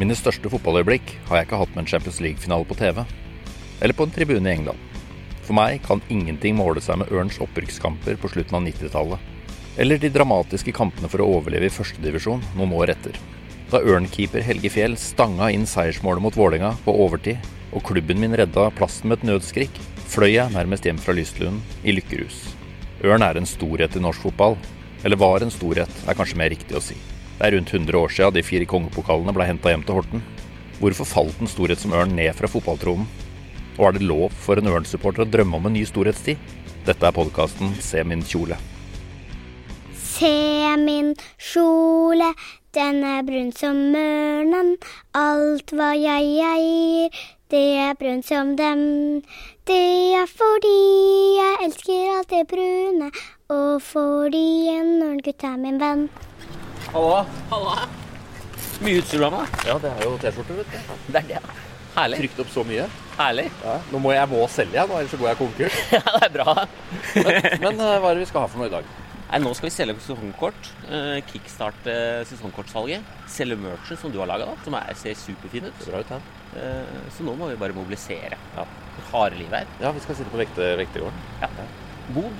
Mine største fotballøyeblikk har jeg ikke hatt med en Champions League-finale på TV. Eller på en tribune i England. For meg kan ingenting måle seg med Ørns opprykkskamper på slutten av 90-tallet. Eller de dramatiske kampene for å overleve i førstedivisjon noen år etter. Da Ørn-keeper Helge Fjell stanga inn seiersmålet mot Vålerenga på overtid, og klubben min redda plassen med et nødskrik, fløy jeg nærmest hjem fra Lystlund i lykkerus. Ørn er en storhet i norsk fotball. Eller var en storhet, er kanskje mer riktig å si. Det er rundt 100 år siden de fire kongepokalene ble henta hjem til Horten. Hvorfor falt en storhet som Ørn ned fra fotballtronen? Og er det lov for en Ørn-supporter å drømme om en ny storhetstid? Dette er podkasten Se min kjole. Se min kjole, den er brun som mørnen. Alt hva jeg eier, det er brunt som dem. Det er fordi jeg elsker alt det brune, og fordi en ørngutt er min venn. Halla. Mye utstyr du har med deg. Ja, det er jo T-skjorter, vet du. Det er det. Herlig. Trykt opp så mye. Herlig. Nå må jeg må selge, jeg, nå, ellers så går jeg konkurs. Ja, det er bra. Men eh, hva er det vi skal ha for noe i dag? Nei, nå skal vi selge sesongkort. eh, Kickstarte sesongkortsalget. Selge merchen som du har laga, som er, ser superfin ut. Ser bra ut, ja. Eh, Så nå må vi bare mobilisere. Ja. For harde liv her. ja, vi skal sitte på vekte, vektergården. Ja. Bod.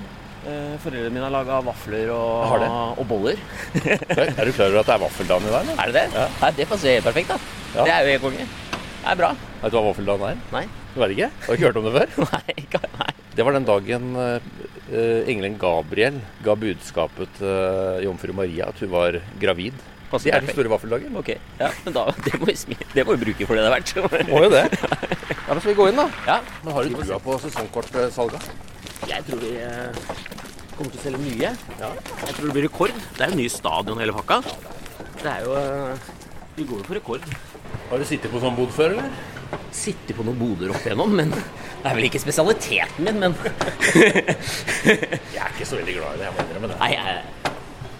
Eh, Foreldrene mine har laga vafler Har og, det? og boller. Er du klar over at det er vaffeldagen i dag? eller? Er det det? Ja. Nei, det passer helt perfekt, da. Ja. Det er jo helt konge. Det er bra. Vet du hva vaffeldagen er? Nei. Du vet ikke? Har du ikke hørt om det før? Nei, ikke, nei. Det var den dagen eh, eh, engelen Gabriel ga budskapet til eh, jomfru Maria at hun var gravid. Passer Det er den perfekt. store vaffeldagen. Ok, ja, men da, det, må vi, smi- det må vi bruke for det det er verdt. Må jo det. Ja, men Skal vi gå inn, da? Ja, Men Har du trua på sesongkortsalga? Jeg tror vi eh, kommer til å selge mye. Jeg tror det blir rekord. Det er jo ny stadion og hele pakka. Det er jo eh, Vi går jo for rekord. Har du sittet på sånn bod før, eller? Sitter på noen boder opp igjennom, men det er vel ikke spesialiteten min, men Jeg er ikke så veldig glad i det, jeg må innrømme det. Nei, jeg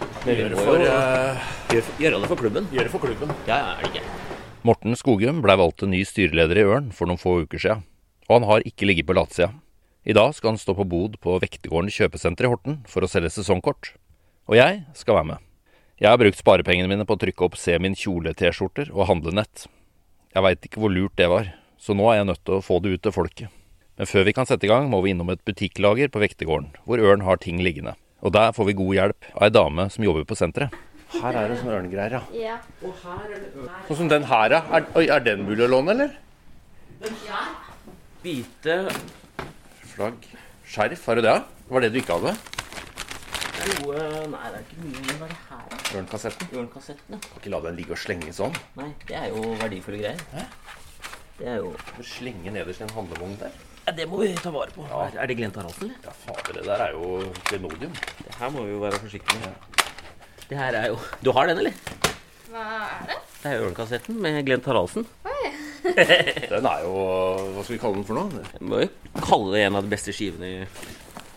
Men vi gjør det må for, jo eh, eh, gjør, gjør det for klubben. gjøre det for klubben. Ja, ja, er det ikke? Morten Skogum blei valgt til ny styreleder i Ørn for noen få uker sia, og han har ikke ligget på latsida. I dag skal han stå på bod på Vektegården kjøpesenter i Horten for å selge sesongkort. Og jeg skal være med. Jeg har brukt sparepengene mine på å trykke opp Se min kjole-T-skjorter og handlenett. Jeg veit ikke hvor lurt det var, så nå er jeg nødt til å få det ut til folket. Men før vi kan sette i gang, må vi innom et butikklager på Vektegården, hvor Ørn har ting liggende. Og der får vi god hjelp av ei dame som jobber på senteret. Her er det sånne ørngreier, ja. Sånn som den her, ja. Er, oi, er den mulig å låne, eller? Hvite Flagg. Skjerf, har du det? ja? Var det du ikke hadde? noe Nei, det er ikke mye å være her. da. Ørnkassetten. Jørn-kassetten, ja. Kan ikke la den ligge og slenge sånn. Nei, det er jo verdifulle greier. Det er jo Du slenge nederst i en handlevogn der. ja, Det må vi ta vare på. Er- Er det Glenn Taraldsen, eller? Ja, fader, det der er jo klenodium. Det her må vi jo være forsiktige med. Det her er jo Du har den, eller? Hva er det? Det er Ørnkassetten med Glenn Taraldsen. Den er jo Hva skal vi kalle den for noe? Jeg må jo kalle det en av de beste skivene i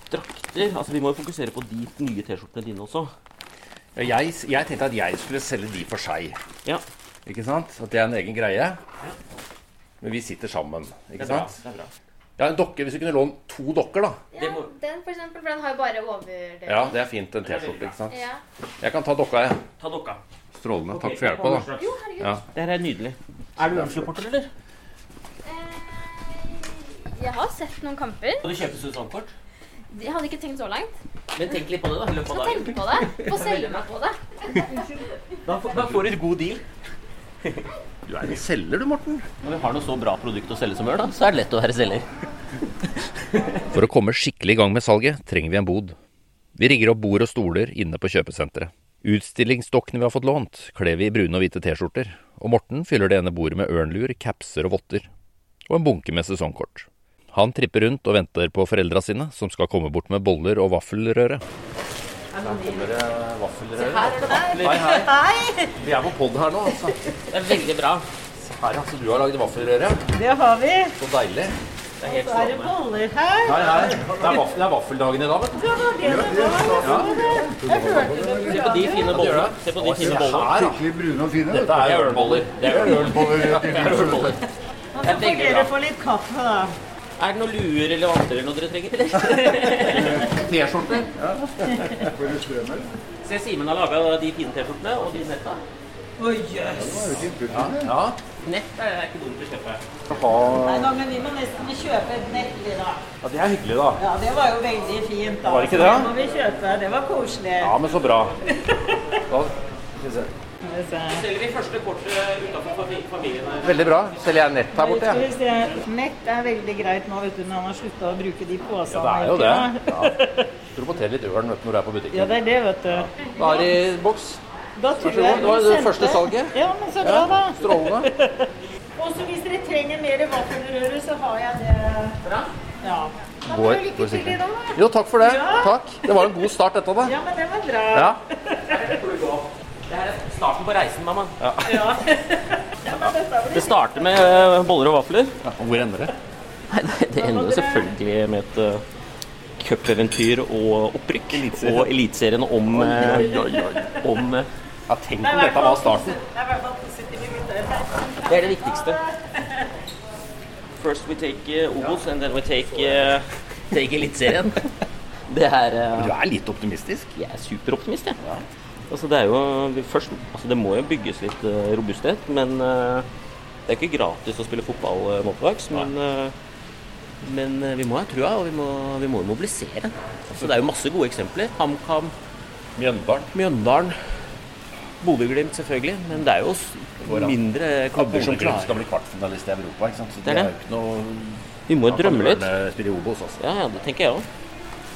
drakter. Altså, Vi må jo fokusere på de nye T-skjortene dine også. Jeg, jeg tenkte at jeg skulle selge de for seg. Ja, Ikke sant? At det er en egen greie. Men vi sitter sammen, ikke det er bra. sant? Det er bra. Ja, en dokke. Hvis du kunne låne to dokker, da. Ja, Det må- Den for eksempel, for den har jo bare overdelen. Ja, det er fint. En T-skjorte, ikke sant. Ja. Jeg kan ta dokka, jeg. Ta dokka. Strålende. Takk for hjelpa, da. Jo, herregud. Ja. Det her er nydelig. Er du Ørn-supporter, eller? Eh, Jeg har sett noen kamper. Kan du kjøpe sesongkort? Jeg hadde ikke tenkt så langt. Men tenk litt på det, da. i løpet Skal av dagen. tenke på det. Få selge meg på det. Da får- da får du et god deal. Du er en selger, du, Morten. Når vi har noe så bra produkt å selge som Ørn, da, så er det lett å være selger. For å komme skikkelig i gang med salget, trenger vi en bod. Vi rigger opp bord og stoler inne på kjøpesenteret. Utstillingsdokkene vi har fått lånt, kler vi i brune og hvite T-skjorter, og Morten fyller det ene bordet med ørnlur, capser og votter, og en bunke med sesongkort. Han tripper rundt og venter på foreldra sine, som skal komme bort med boller og vaffelrøre. Hei, hei. Vi er på pod her nå, altså. Det er veldig bra. Her, altså. Du har lagd vaffelrøre. Det har vi. Så deilig. Det er helt Så er det strålende. boller her. Hei, hei. Det er, vaffel, det er vaffeldagen i dag, vet du. Det var det det var. Jeg Se hørte det på på de radioen. fine bollene. Se på de fine bollene. Her, da. Skikkelig brune og fine. Dette er ørnboller. Det er Ørn. ørnboller. Og så får dere få litt kaffe, da. Er det noen luer eller vanter eller noe dere trenger? eller? T-skjorter. Se, Simen har laga de fine T-skjortene og de netta. Å, jøss. Ja, nett er ikke dumt å kjøpe. Nei da, men vi må nesten kjøpe et nett, vi da. Ja, Det er hyggelig, da. Ja, det var jo veldig fint, da. Var det ikke Så det? må vi kjøpe. Det var koselig. Ja, men så bra. Skal vi se. Selger vi første kortet utenfor familien her? Veldig bra. Selger jeg nett her borte, Skal jeg. vi se. Nett er veldig greit nå, vet du, når han har slutta å bruke de påsene. Ja, det er jo ikke Du roboterer litt ørn vet du, når du er på da? butikken. Ja, det er det, vet du. Da er det i boks. Da tror så god. jeg Det var vi det sendte- første salget. Ja, men så bra, da. Strålende. Og så hvis dere trenger mer vaffelrøre, så har jeg det. Bra? Ja. Går- lykke går til i sikkert. dag, da. Jo, takk for det. Ja. Takk. Det var en god start, dette. da. Ja, men det var bra. Ja. Det her er starten på reisen, mamma. Ja. Ja, men dette blir Det starter med eh, boller og vafler. Hvor ender det? Nei, nei, det ender jo selvfølgelig med et eh, cupeventyr og opprykk. Og Eliteserien om eh, Om eh, Ja, tenk om dette var starten. Det er i hvert fall positive gutter. Det er det viktigste. First we take eh, Obos, and then we take, eh, take Eliteserien. Det er eh, Du er litt optimistisk. Jeg er superoptimist, jeg. Altså, det er jo vi- først Altså, det må jo bygges litt eh, robusthet, men eh, det er ikke gratis å spille fotball eh, nå til dags, men eh, men eh, vi må ha trua, og vi må, vi må jo mobilisere. Så det er jo masse gode eksempler. HamKam, Mjøndalen. Mjøndalen, Bodø-Glimt selvfølgelig. Men det er jo s- Går an. mindre klubber som Bodø-Glimt skal klarer bli kvartfinalist i Europa. ikke sant? Så Det er det er det. jo ikke noe Vi må jo drømme litt. Spille i Obos, altså. Ja, ja, det tenker jeg òg.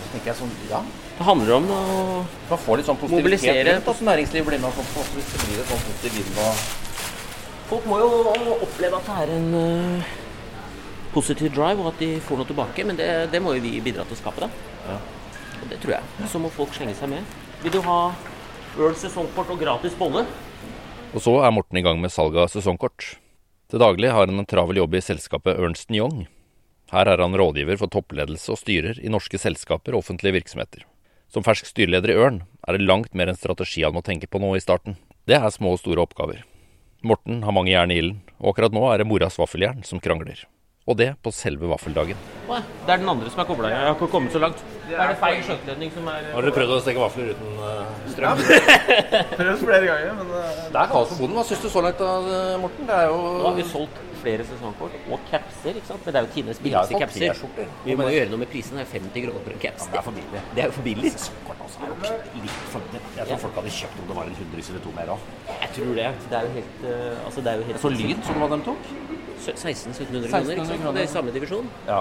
Så tenker jeg sånn, ja, Det handler om å Man får litt sånn positivitet Mobilisere. rundt at næringslivet blir med. og sånt, og så blir det sånn positiv vind og Folk må jo oppleve at det er en eh, positiv drive, og at de får noe tilbake. Men det, det må jo vi bidra til å skape, da. Og det tror jeg. Så må folk slenge seg med. Vil du ha øl, sesongkort og gratis bolle? Og så er Morten i gang med salg av sesongkort. Til daglig har han en travel jobb i selskapet Ernst Young. Her er han rådgiver for toppledelse og styrer i norske selskaper og offentlige virksomheter. Som fersk styreleder i Ørn er det langt mer en strategi han må tenke på nå i starten. Det er små og store oppgaver. Morten har mange jern i ilden, og akkurat nå er det moras vaffeljern som krangler. Og det på selve vaffeldagen. Nei, det er den andre som er kobla. Jeg har ikke kommet så langt. Er det feil skjøteledning som er eh? Har dere prøvd å steke vafler uten eh, strøm? Prøvd flere ganger, men Det er kaos på boden. Hva syns du så langt da, Morten? Det er Nå har jo vi solgt flere sesongkort og capser, ikke sant? Men det er jo tidenes Vi har billigste fått capser. T-skjorter. Vi må jo gjøre noe med prisen. Det er 50 kroner for en caps. Det er for billig. Det er jo for billig. altså, litt for Jeg tror folk hadde kjøpt om det var en hundrings eller to mer òg. Jeg tror det. Det er jo helt eh, Altså, det er jo helt Så lyd som hva de tok? 1600-1700 kroner, ikke sant? Det er i samme divisjon. Ja.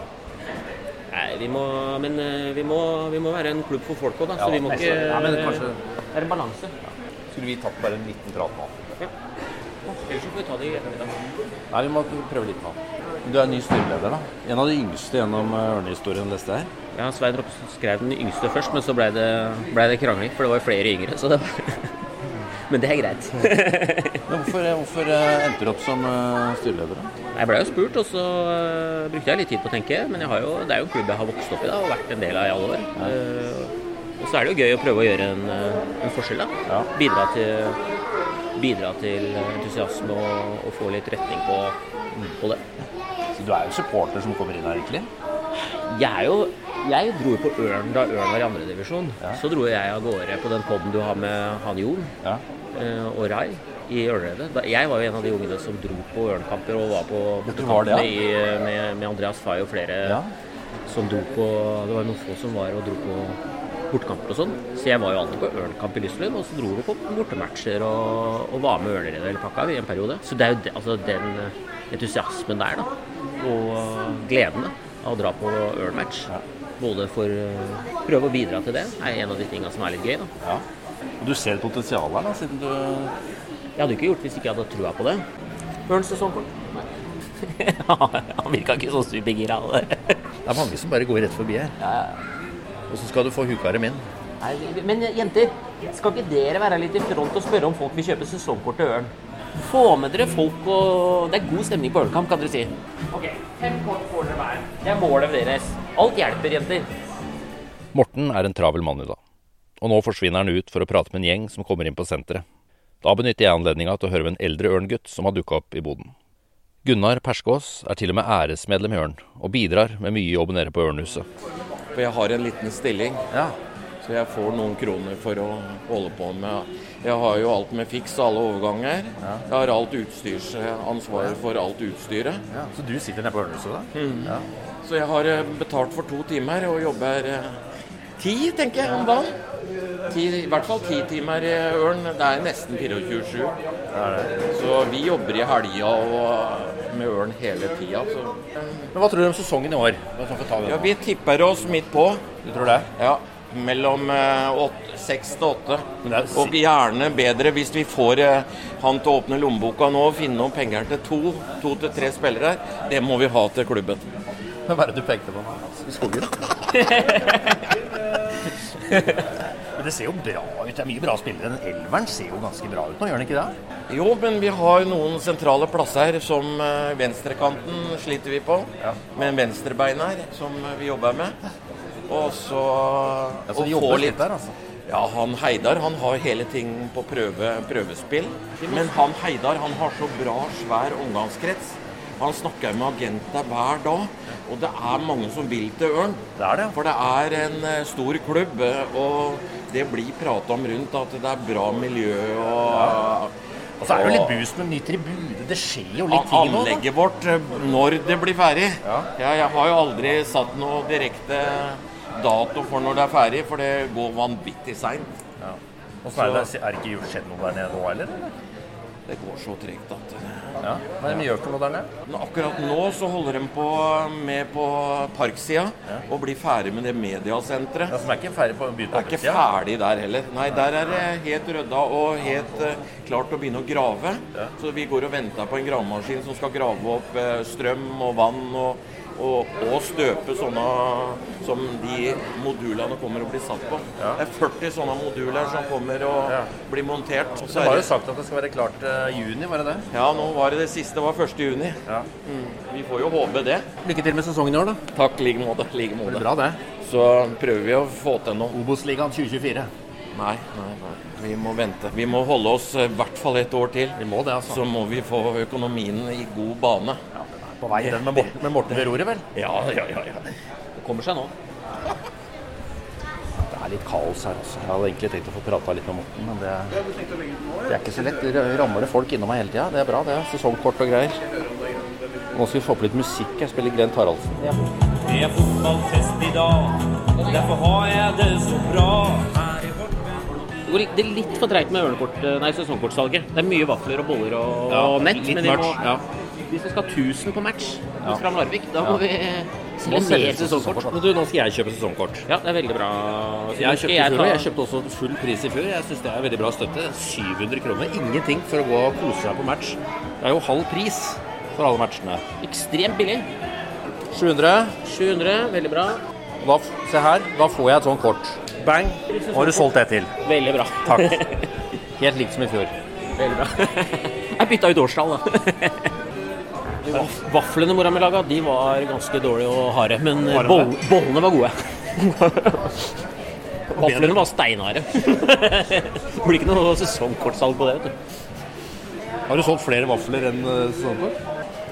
Nei, vi må, men eh, vi må, vi må være en klubb for folk òg, da. Så vi må ikke Det er en balanse. skulle vi tatt bare en liten prat nå. Ellers så får vi ta det i ettermiddag. Nei, vi må prøve litt nå. Du er ny styreleder, da. En av de yngste gjennom eh, ørnehistorien, leste jeg her. Ja, Svein Ropstad skrev den yngste først, men så blei det, ble det krangling, for det var jo flere yngre. Så det var Men det er greit. Men hvorfor, eh, hvorfor eh, endte du opp som eh, styreleder, da? Jeg blei jo spurt, og så øh, brukte jeg litt tid på å tenke. Men jeg har jo, det er jo en klubb jeg har vokst opp i da, og vært en del av i alle år. Eh, og så er det jo gøy å prøve å gjøre en, øh, en forskjell. da. Bidra til, bidra til entusiasme og, og få litt retning på, på det. Så du er jo supporter som kommer inn her, egentlig? Jeg, er jo, jeg dro jo på Ørn da Ørn var i andredivisjon. Så dro jeg av gårde på den poden du har med han Jon Ja. eh, og Rai i Ørnredet. Da- Jeg var jo en av de ungene som dro på Ørnkamper og var på Du var det, ja. bortekampene i- eh, med, med Andreas Fay og flere Ja. som dro på Det var noen få som var og dro på bortekamper og sånn. Så jeg var jo alltid på Ørnkamp i Lyslund, og så dro vi på bortematcher og, og var med Ørneredet hele pakka i en periode. Så det er jo de, altså den entusiasmen der, da. Og eh, gleden da, av å dra på Ørn-match. Både for eh, prøve å bidra til det, er en av de tinga som er litt gøy, da. ja. Og du ser et potensial her, da, siden du Jeg hadde jo ikke gjort hvis ikke jeg hadde trua på det. Ørn sesongkort? Han virka ikke så supergira av det. Det er mange som bare går rett forbi her. Og så skal du få hukarem inn. Nei, men eh, jenter, skal ikke dere være litt i front og spørre om folk vil kjøpe sesongkort til Ørn? Få med dere folk og Det er god stemning på Ørnkamp, kan dere si. Ok, fem kort får dere hver. Det er målet deres. Alt hjelper, jenter. Morten er en travel mann i dag, og nå forsvinner han ut for å prate med en gjeng som kommer inn på senteret. Da benytter jeg anledninga til å høre med en eldre ørngutt som har dukka opp i boden. Gunnar Perskås er til og med æresmedlem i Ørn, og bidrar med mye jobb nede på Ørnhuset. For jeg har en liten stilling. Så jeg får noen kroner for å holde på med Jeg har jo alt med fiks, alle overganger. Jeg har alt utstyrsansvaret for alt utstyret. Ja, så du sitter nede på Ørnhuset, da? Så jeg har eh, betalt for to timer og jobber eh, ti, tenker jeg, om dagen. Ti, I hvert fall ti timer i Ørn. Det er nesten 24-7. Så vi jobber i helga og med Ørn hele tida. Så Men hva tror du om sesongen i år? Bare sånn for å ta den. ja, vi tipper oss midt på. Du tror det? Ja, mellom eh, åt- seks til åtte. Men det er si- Og gjerne bedre hvis vi får eh, han til å åpne lommeboka nå og finne noen penger til to, to til tre spillere. Det må vi ha til klubben. Hva er det du pekte på? I skogen? Men det ser jo bra ut. Det er mye bra spillere. Den elveren ser jo ganske bra ut nå, gjør den ikke det? Jo, men vi har noen sentrale plasser som eh, venstrekanten sliter vi på. Med en venstrebein her, som vi jobber med. Og så Ja, så de og få jobber litt- litt der, altså. Ja, han Heidar han har hele ting på prøve, prøvespill. Men han Heidar han har så bra, svær omgangskrets. Han snakker med agenter hver dag, og det er mange som vil til Ørn. Det er det, ja. For det er en eh, stor klubb, eh, og det blir prata om rundt at det er bra miljø og Og så er det jo litt boost med ny tribune. Det skjer jo litt ting nå. da. Anlegget vårt, eh, når det blir ferdig. Ja, jeg har jo aldri satt noe direkte dato for når det er ferdig, for det går vanvittig seint. Og så er det, er det ikke jo- skjedd noe der nede nå heller? eller? Det går så tregt at eh, Ja. Hva er det de gjør for noe der nede? Men Akkurat nå så holder de på med på parksida og blir ferdig med det mediasenteret. Ja, som er ikke ferdig på byen Det er ikke ferdig der heller. Nei, der er det helt rydda og helt eh, klart å begynne å grave. Så vi går og venter på en gravemaskin som skal grave opp eh, strøm og vann og, og, og støpe sånne som de modulene kommer og blir satt på. Det er 40 sånne moduler som kommer og blir montert. Og Det så var er jo det, sagt at det skal være klart eh, juni, var det det? ja, nå var det det siste var 1. juni. Mm, vi får jo håpe det. Lykke til med sesongen i år, da. Takk, like måte. Like Det måte. blir bra, det. Så prøver vi å få til noe. Obos-ligaen 2024. Nei, nei, nei. Vi må vente. Vi må holde oss eh, i hvert fall et år til. Vi må det, altså. Så må vi få økonomien i god bane. På vei den med Morten, med Morten ved roret, vel? Ja, ja, ja. ja. Det kommer seg nå. Det er litt kaos her også. Jeg hadde egentlig tenkt å få prata litt med Morten, men det, det er ikke så lett. Det ramler det folk innom meg hele tida. Det er bra, det. Sesongkort og greier. Nå skal vi få på litt musikk. Jeg spiller Glenn Taraldsen. Det er fotballfest i dag, derfor har jeg det så bra. Her i vårt Det går litt- det er litt for treigt med ørnekort- eh, nei, sesongkortsalget. Det er mye vafler og boller og, og nett. litt men vi merch, må, ja. hvis vi skal ha 1000 på match mot Fram Larvik, da må vi Må selge selge mer sesongkort. sesongkort. Men du, nå skal jeg kjøpe sesongkort. Ja, det er veldig bra. Så Jeg nå skal kjøpte i fjor, og jeg ta- kjøpte også full pris i fjor. Jeg syns det er veldig bra støtte. 700 kroner, ingenting for å gå og kose seg på match. Det er jo halv pris for alle matchene. Ekstremt billig. 700. 700, veldig bra. Da, f- se her, da får jeg et sånt kort. Bang. Nå har du solgt det til. Veldig bra. Takk. Helt likt som i fjor. Veldig bra. Jeg bytta ut årstall, da. De vaf- Vaflene mora mi laga, de var ganske dårlige og harde. Men eh, boll bollene var gode. Vaflene var steinharde. Det Blir ikke noe sesongkortsalg på det, vet du. Har du solgt flere vafler enn eh, sesongkort?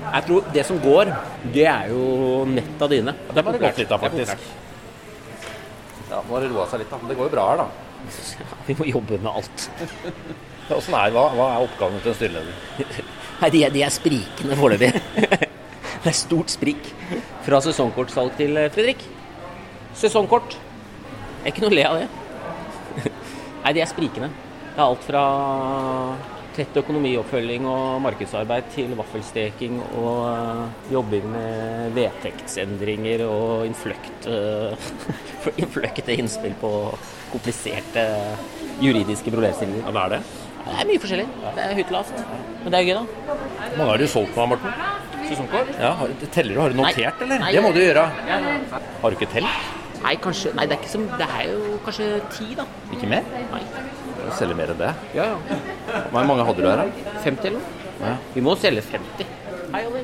Jeg tror det som går, det er jo netta dine. Det har det gått litt av, er faktisk. populært. Ja, nå har det roa seg litt, da. Men det går jo bra her, da. Vi må jobbe med alt. Åssen er hva, hva er oppgavene til en styreleder? Nei, de er, de er sprikende foreløpig. Det er stort sprik fra sesongkortsalg til eh, Fredrik. Sesongkort. Det er ikke noe å le av det. Nei, de er sprikende. Det er alt fra tett økonomioppfølging og markedsarbeid til vaffelsteking og eh, jobbing med vedtektsendringer og innfløkt, eh, innfløkte innspill på kompliserte juridiske problemstillinger. Ja, det er det. Det er mye forskjellig. Det er høyt og lavt. Men det er jo gøy, da. Hvor mange har du solgt nå, Morten? Sesongkort? Ja, har, det teller du? Har du notert, Nei. eller? Nei. Det må du gjøre. Har du ikke telt? Nei, kanskje Nei, det er, ikke som, det er jo kanskje ti, da. Ikke mer? Nei. Du selger mer enn det. Ja, ja. Hvor mange hadde du her, da? 50 eller noe. Vi må selge 50. Hei, Olli.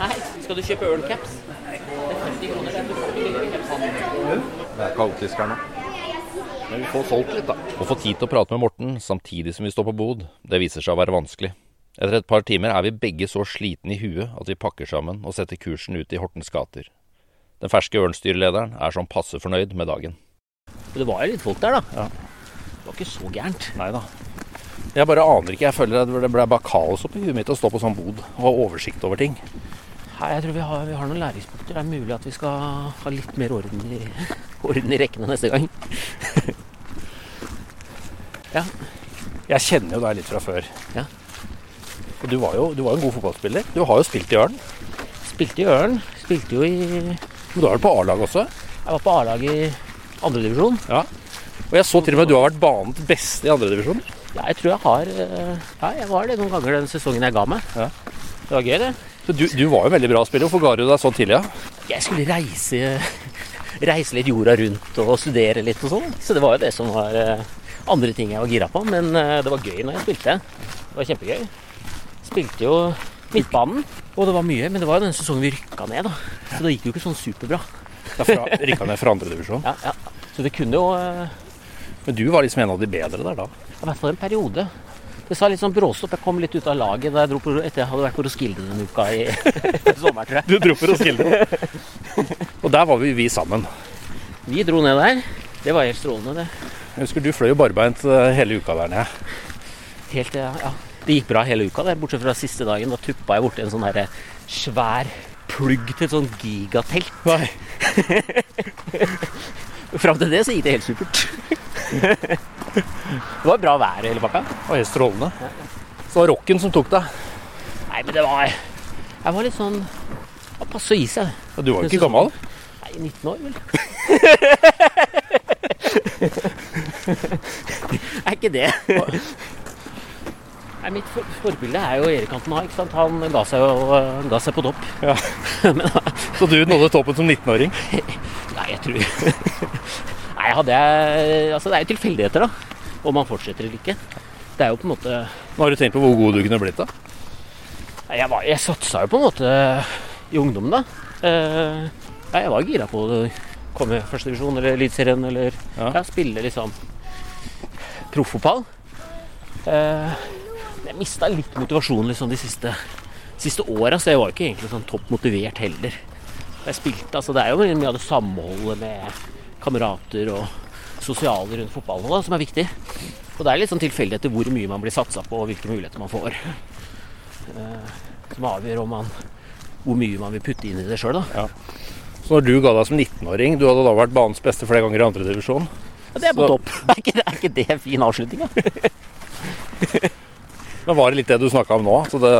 Hei. Skal du kjøpe ølcaps? Det er 50 kroner. så du får billigere caps. Det er kaotisk her nå. Men vi får solgt litt, da. Å få tid til å prate med Morten samtidig som vi står på bod, det viser seg å være vanskelig. Etter et par timer er vi begge så slitne i huet at vi pakker sammen og setter kursen ut i Hortens gater. Den ferske Ørn-styrelederen er sånn passe fornøyd med dagen. Men det var jo litt folk der, da. Det var ikke så gærent. Nei da. Jeg bare aner ikke. Jeg føler at det ble bare kaos oppi huet mitt å stå på sånn bod og ha oversikt over ting. Nei, jeg tror vi har, vi har noen læringspunkter. Det er mulig at vi skal ha litt mer orden i, orden i rekkene neste gang. ja. Jeg kjenner jo deg litt fra før. Ja. Og du var jo du var jo en god fotballspiller. Du har jo spilt i Ørn. Spilte i Ørn. Spilte jo i Men du er vel på A-laget også? Jeg var på A-laget i andredivisjon. Ja. Og jeg så til og med du har vært banens beste i andredivisjon. Ja, jeg tror jeg har eh, Ja, jeg var det noen ganger den sesongen jeg ga meg. Ja. Det var gøy, det. Så du, du var jo en veldig bra spiller. Hvorfor ga du deg så tidlig? da? Jeg skulle reise, reise litt jorda rundt og studere litt og sånn. Så det var jo det som var eh, andre ting jeg var gira på. Men eh, det var gøy når jeg spilte. Det var kjempegøy. Spilte jo midtbanen, og det var mye. Men det var jo den sesongen vi rykka ned, da. Så det gikk jo ikke sånn superbra. Derfra rykka ned fra andredivisjon. Ja, ja. Så det kunne jo eh, Men du var liksom en av de bedre der da. I hvert fall en periode. Det sa litt sånn bråstopp. Jeg kom litt ut av laget da jeg dro på, etter jeg hadde vært på Roskilde denne uka i sommer, tror jeg. Du dro på Roskilde. og der var vi, vi sammen. Vi dro ned der. Det var helt strålende, det. Jeg husker du fløy jo barbeint eh, hele uka der nede. Helt, ja, ja. Det gikk bra hele uka, der, bortsett fra siste dagen. Da tuppa jeg borti en sånn derre svær plugg til et sånn gigatelt. Nei. Fram til det så gikk det helt supert. det var bra vær hele pakka. Det var helt strålende. Så det var rocken som tok deg. Nei, men det var Jeg var litt sånn ja, Passe å gi seg. Og du var jo ikke gammel. Nei, 19 år, vel. er ikke det Nei, Mitt for forbilde er jo Erik Cantona. ikke sant? Han ga seg, jo, eh, ga seg på topp. Ja. Men eh, Så du nådde toppen som 19-åring. nei, jeg tror Nei, hadde jeg Altså, det er jo tilfeldigheter, da. Om man fortsetter eller ikke. Det er jo på en måte Nå har du tenkt på hvor god du kunne blitt da. Nei, Jeg, var, jeg satsa jo på en måte eh, i ungdommen, da. Eh, ja, jeg var gira på å komme i første divisjon eller Eliteserien eller ja. Ja. spille liksom profffotball. Eh, men jeg mista litt motivasjon liksom de siste, siste åra, så jeg var ikke egentlig sånn topp motivert heller. Jeg spilte, altså Det er jo mye av det samholdet med kamerater og sosiale rundt fotballen da, som er viktig. Og det er litt sånn tilfeldigheter hvor mye man blir satsa på, og hvilke muligheter man får som avgjør om man, hvor mye man vil putte inn i det sjøl. Så når du ga deg som 19-åring, du hadde da vært banens beste flere ganger i andredivisjon. Det er på Så- topp. Er ikke, er ikke det en fin avslutning? Da? Men var det litt det du snakka om nå? Så det,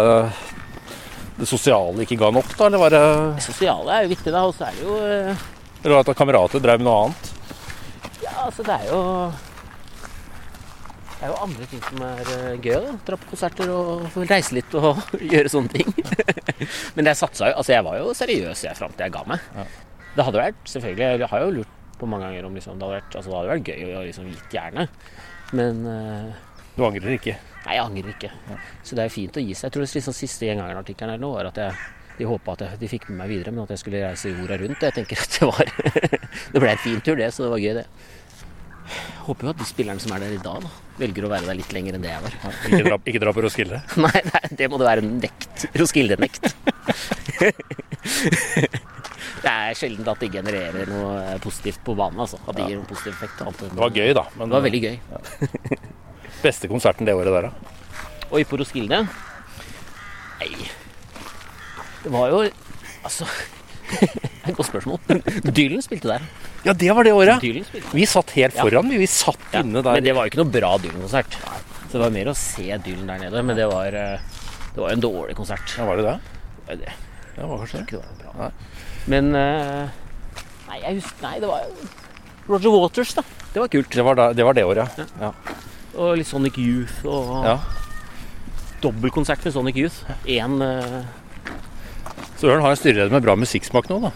det sosiale ikke ga nok, da? Eller var det, Det sosiale er jo viktig, da. Og så er det jo eh, eller var det at kamerater drev med noe annet? Ja, altså, det er jo det er jo andre ting som er eh, gøy. da. Dra på konserter og få reise litt og gjøre sånne ting. Men jeg satsa jo Altså, jeg var jo seriøs jeg fram til jeg ga meg. Det hadde vært selvfølgelig Jeg har jo lurt på mange ganger om liksom, det hadde vært, altså, det hadde vært gøy å liksom gitt jernet. Men eh, Du angrer ikke? Nei, jeg angrer ikke. Så det er fint å gi seg. Jeg tror det liksom siste gjengangeren-artikkelen her nå var at jeg, de håpa at jeg, de fikk med meg videre, men at jeg skulle reise jorda rundt. Jeg tenker at det var Det ble en fin tur, det, så det var gøy, det. Jeg Håper jo at de spillerne som er der i dag, da, velger å være der litt lenger enn det jeg var. Ikke dra, ikke dra på Roskilde? Nei, nei, det må det være en nekt. Roskilde-nekt. Det er sjelden at de genererer noe positivt på banen, altså. At de gir noen positiv effekt. annet enn- Det var gøy, da. Men Det var veldig gøy. beste konserten det året der, da? Oi, på Roskilde? Nei Det var jo Altså det er Et godt spørsmål. Dylan spilte der. Ja, det var det året. Dylan spilte Vi satt helt Ja. foran, vi. Vi satt ja. inne Men der. det var jo ikke noe bra Dylan-konsert. Så det var mer å se Dylan der nede. Men det var eh, Det var jo en dårlig konsert. Ja, var det det? Det var det. Ja, var kanskje det. ikke det var noe bra. Men eh, Nei, jeg husker Nei, det var jo Roger Waters, da. Det var kult. Det var, da, det, var det året, ja. Og litt Sonic Youth og Ja. Dobbeltkonsert med Sonic Youth. Én eh, Så Ørn har en styreleder med bra musikksmak nå, da.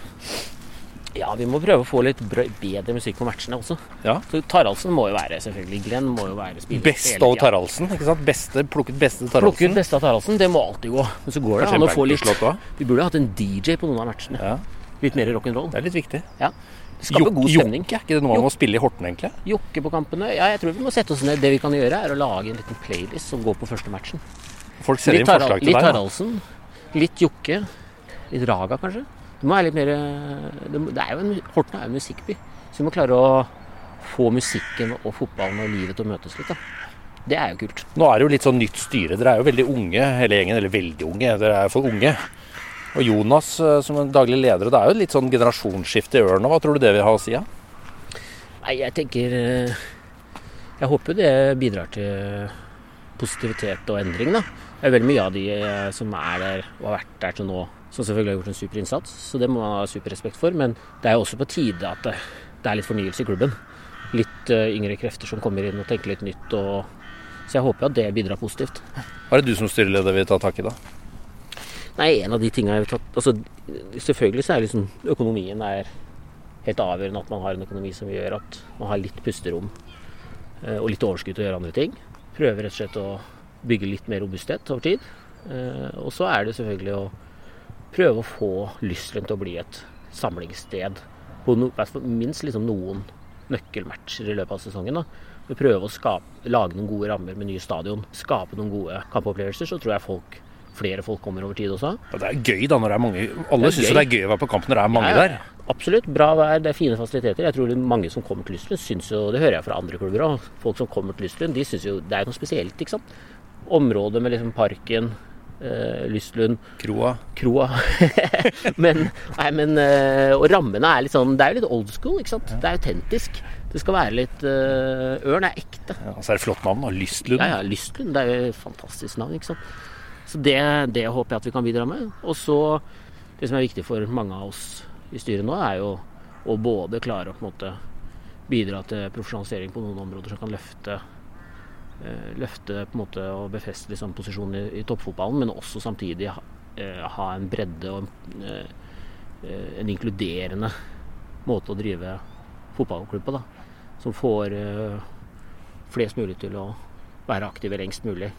Ja, vi må prøve å få litt brø- bedre musikk på matchene også. Ja. Så Taraldsen må jo være selvfølgelig Glenn må jo være spiller. Best av Taraldsen, ikke sant? Beste, plukket beste Plukke ut Taraldsen. beste av Taraldsen, det må alltid gå. Men så går det an å få litt Slått, da. Vi burde hatt en DJ på noen av matchene. Ja. Litt mer rock'n'roll. Det er litt viktig. Skape god stemning. Jokke, er ikke det noe man må spille i Horten, egentlig? Jokke på kampene. Ja, jeg tror vi må sette oss ned. Det vi kan gjøre, er å lage en liten playlist som går på første matchen. Folk sender Litt, inn forslag Tarald, til litt deg. da. Taraldsen, litt Jokke, litt Raga kanskje. Det må være litt mer eh, det må- Det er jo en Horten er jo en musikkby, så vi må klare å få musikken og fotballen og livet til å møtes litt. da. Det er jo kult. Nå er det jo litt sånn nytt styre. Dere er jo veldig unge hele gjengen. Eller veldig unge, dere er i hvert fall unge. Og Jonas eh, som er daglig leder, og det er jo litt sånn generasjonsskifte i Ørn. og Hva tror du det vil ha å si? Ja? Nei, jeg tenker eh, Jeg håper det bidrar til positivitet og endring, da. Det er veldig mye av de eh, som er der og har vært der til nå, som selvfølgelig har gjort en super innsats, så det må man ha super respekt for. Men det er jo også på tide at det, det er litt fornyelse i klubben. Litt eh, yngre krefter som kommer inn og tenker litt nytt. Og, så jeg håper at det bidrar positivt. Hva er det du som styreleder vil ta tak i, da? Nei, en av de tingene jeg vil tatt altså, Selvfølgelig så er liksom økonomien er helt avgjørende at man har en økonomi som gjør at man har litt pusterom eh, og litt overskudd til å gjøre andre ting. Prøve rett og slett å bygge litt mer robusthet over tid. Eh, Og så er det selvfølgelig å prøve å få Lysselen til å bli et samlingssted på no, i hvert fall minst liksom noen nøkkelmatcher i løpet av sesongen. da. Vi prøver å skape, lage noen gode rammer med nye stadion, skape noen gode kampopplevelser. Så tror jeg folk, flere folk kommer over tid også. Ja, Det er gøy da når det er mange. Alle Det er syns jo gøy. det er gøy å være på kamp når det er mange Ja, ja, der. Absolutt. Bra vær, det er fine fasiliteter. Jeg tror det er mange som kommer til Lyslund, syns jo Det hører jeg fra andre klubber òg. Folk som kommer til Lyslund, de syns jo det er noe spesielt, ikke sant. Området med liksom parken, eh, Lyslund Kroa. Kroa. men, nei, men eh, Og rammene er litt sånn Det er jo litt old school, ikke sant. Det er autentisk. Det skal være litt eh, Ørn er ekte. Ja, så er det flott navn, da. Lystlund. Ja, ja, Lystlund. Det er jo et fantastisk navn, ikke sant. Så det, det håper jeg at vi kan bidra med. Og så det som er viktig for mange av oss i styret nå, er jo å både klare å på en måte bidra til profesjonalisering på noen områder som kan løfte eh, løfte på en måte og befeste liksom posisjonen i, i toppfotballen, men også samtidig ha, eh, ha en bredde og en, eh, eh, en inkluderende måte å drive fotballklubb på. da, Som får eh, flest mulig til å være aktive lengst mulig.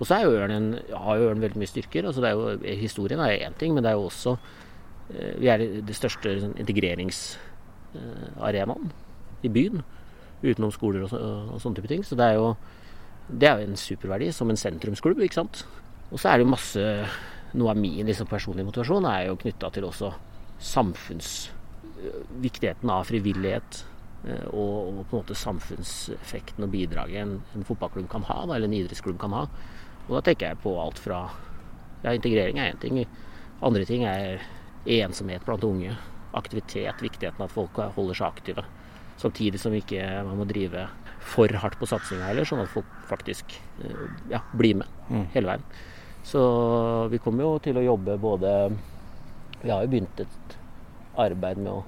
Og så er jo Ørn en, har jo Ørn veldig mye styrker. altså det er jo, Historien er én ting, men det er jo også eh, Vi er det største sånn, integreringsarenaen i byen. Utenom skoler og, så, og sånne type ting. Så det er jo det er jo en superverdi som en sentrumsklubb, ikke sant. Og så er det jo masse Noe av min liksom, personlige motivasjon er jo knytta til også samfunnsviktigheten av frivillighet. eh, Og, og på en måte samfunnseffekten og bidraget en, en fotballklubb kan ha, da, eller en idrettsklubb kan ha. Og da tenker jeg på alt fra Ja, integrering er én ting. Andre ting er ensomhet blant unge. Aktivitet, viktigheten av at folk holder seg aktive. Samtidig som ikke man må drive for hardt på satsinga heller, sånn at folk faktisk eh, ja, blir med Mm. hele veien. Så vi kommer jo til å jobbe både Vi har jo begynt et arbeid med å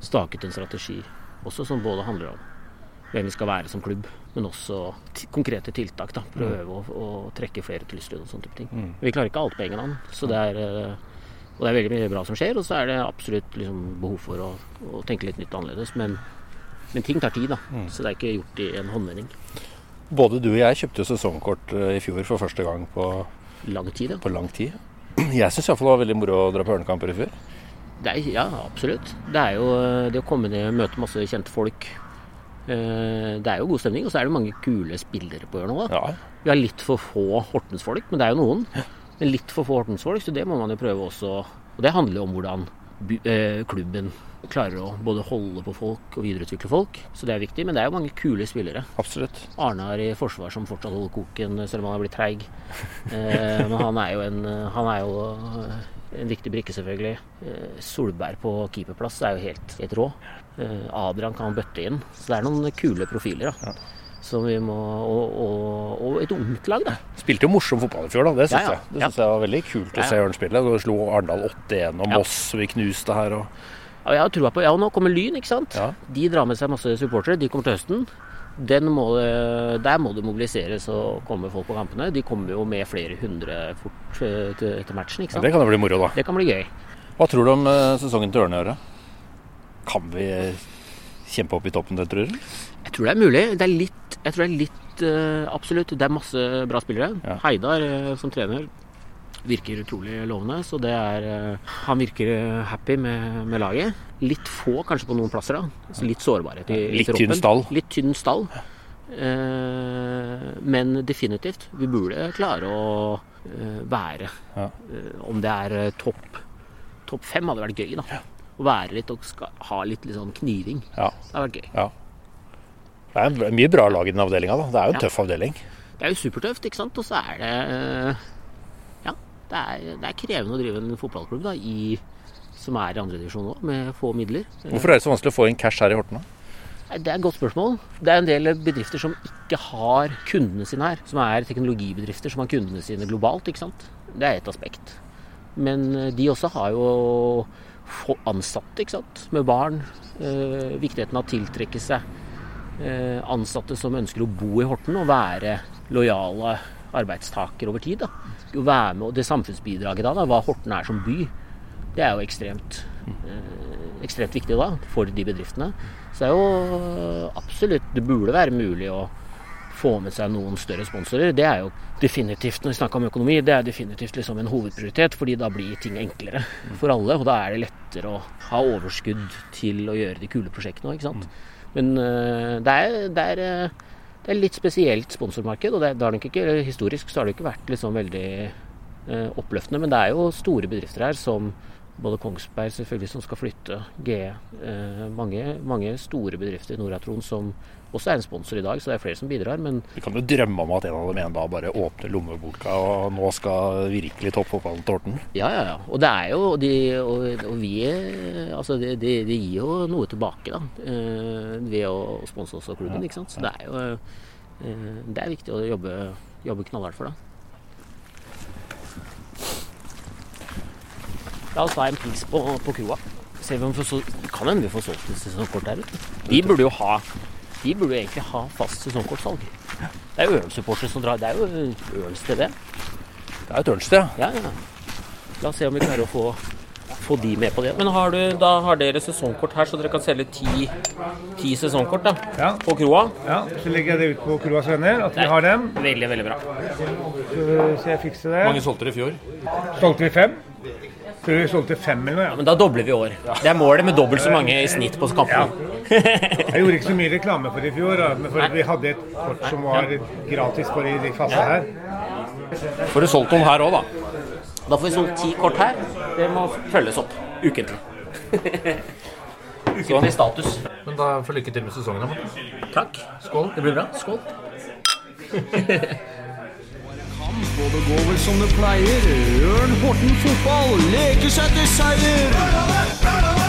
stake ut en strategi også, som både handler om hvem vi skal være som klubb, men også ti- konkrete tiltak. da, Prøve å, å trekke flere til Lyslund og sånne type ting. Mm. Vi klarer ikke alt på egen hånd. så det er, eh, Og det er veldig mye bra som skjer, og så er det absolutt liksom, behov for å, å tenke litt nytt og annerledes. Men, men ting tar tid, da. Så det er ikke gjort i en håndvending. Både du og jeg kjøpte jo sesongkort eh, i fjor for første gang på lang tid. På lang tid. Jeg syns iallfall det var veldig moro å dra på Ørnekamper i fjor. Det er, ja, absolutt. Det er jo eh, det å komme ned og møte masse kjente folk. Eh, Det er jo god stemning, og så er det mange kule spillere på Ørn òg. Vi har litt for få Hortensfolk, men det er jo noen. Men litt for få Hortensfolk, så det må man jo prøve også. Og det handler jo om hvordan by- eh, klubben klarer å både holde på folk og videreutvikle folk. Så det er viktig. Men det er jo mange kule spillere. Absolutt. Arnar i forsvar som fortsatt holder koken, selv om han er blitt treig. Eh, men han er jo en, han er jo eh, en viktig brikke, selvfølgelig. Eh, Solberg på keeperplass er jo helt, helt rå. Eh, Adrian kan bøtte inn. Så det er noen kule profiler. da. Som vi må, og, og, og et ungt lag, da. Spilte jo morsom fotball i fjor, da. Det syns Ja, ja. jeg. Det synes jeg var veldig kult å Ja, ja. se Ørn spille. Da slo Arendal 8-1 og Ja. Moss, og vi knuste her og Ja, jeg har trua på, ja, og nå kommer Lyn, ikke sant? De drar med seg masse supportere, de kommer til høsten. Den må det, der må det mobiliseres og komme folk på kampene. De kommer jo med flere hundre fort eh, til, til matchen, ja, ikke sant? Det kan jo bli moro, da. Det kan bli gøy. Hva tror du om eh, sesongen til Ørn i år? da? Kan vi eh, kjempe opp i toppen, det tror du? Jeg tror det er mulig. Det er litt, jeg tror det er litt eh, Absolutt. Det er masse bra spillere. Heidar eh, som trener virker utrolig lovende, så det er eh, Han virker eh, happy med, med laget. Litt få kanskje på noen plasser, da. Så litt sårbarhet i, i Litt troppen. tynn stall. Litt tynn stall. Eh, men definitivt. Vi burde klare å eh, være Eh, Om det er eh, topp Topp fem hadde vært gøy, da. Å være litt og ska, ha litt, litt sånn kniving. Det hadde vært gøy. Ja. Det er en- mye bra lag i den avdelinga, da. Det er jo en Ja. tøff avdeling. Det er jo supertøft, ikke sant. Og så er det eh, Ja, det er, det er krevende å drive en fotballklubb da, i, som er i andredivisjon nå, med få midler. Hvorfor er det så vanskelig å få inn cash her i Horten, da? Nei, Det er et godt spørsmål. Det er en del bedrifter som ikke har kundene sine her. Som er teknologibedrifter som har kundene sine globalt, ikke sant. Det er ett aspekt. Men eh, de også har jo få ansatte, ikke sant. Med barn. Eh, viktigheten av å tiltrekke seg eh, ansatte som ønsker å bo i Horten og være lojale arbeidstakere over tid. Da. Å Være med, og det samfunnsbidraget da, da, hva Horten er som by, det er jo ekstremt, eh, ekstremt viktig da, for de bedriftene. Så det er jo eh, absolutt Det burde være mulig å få med seg noen større sponsorer. Det er jo definitivt, når vi snakker om økonomi, det er definitivt liksom en hovedprioritet, fordi da blir ting enklere for alle. Og da er det lettere å ha overskudd til å gjøre de kule prosjektene òg, ikke sant. Men eh, det er, det er eh, det er litt spesielt sponsormarked, og det, det har nok ikke, eller historisk så har det ikke vært liksom veldig eh, oppløftende. Men det er jo store bedrifter her, som både Kongsberg selvfølgelig som skal flytte, GE. Eh, mange, mange store bedrifter i Nord-Tron som også er en sponsor i dag, så det er flere som bidrar. Men Du kan jo drømme om at en av dem en dag bare åpner lommeboka og nå skal virkelig toppfotballen til Horten. Ja, ja, ja. Og det er jo og de, og, og vi eh, Altså, det de, de gir jo noe tilbake, da. eh, Ved å sponse også klubben, ikke sant. Så det er jo eh, Det er viktig å jobbe, jobbe knallhardt for, da. La oss ta en pils på, på kua. Se om vi får sol- det kan hende vi får solgt et sesongkort der ute. De burde jo ha De burde jo egentlig ha fast sesongkortsalg. Det er jo Ørn-supportere som drar. Det er jo Ørn-sted, det. Det er jo et ørnsted, ja. Ja, ja. La oss se om vi klarer å få, få de med på det. Men har du, da har dere sesongkort her, så dere kan selge ti, ti sesongkort da, på kroa. Ja, så legger jeg det ut på Kroas venner, at vi har dem. Veldig, veldig bra. Så, så jeg fikser det. Hvor mange solgte dere i fjor? Solgte vi fem? Tror vi solgte fem eller noe, ja. Men da dobler vi i år. Det er målet med dobbelt så mange i snitt på kampene. Jeg gjorde ikke så mye reklame for det i fjor, da, men for at vi hadde et kort som var gratis bare i de fase her. Får du solgt noen her òg, da? Da får vi solgt ti kort her. Det må følges opp ukentlig. Ukentlig status. Men da får lykke til med sesongen. da. Takk. Skål. Det blir bra. Skål. Og det går vel som det pleier. Ørn Horten fotball leker seg til seier.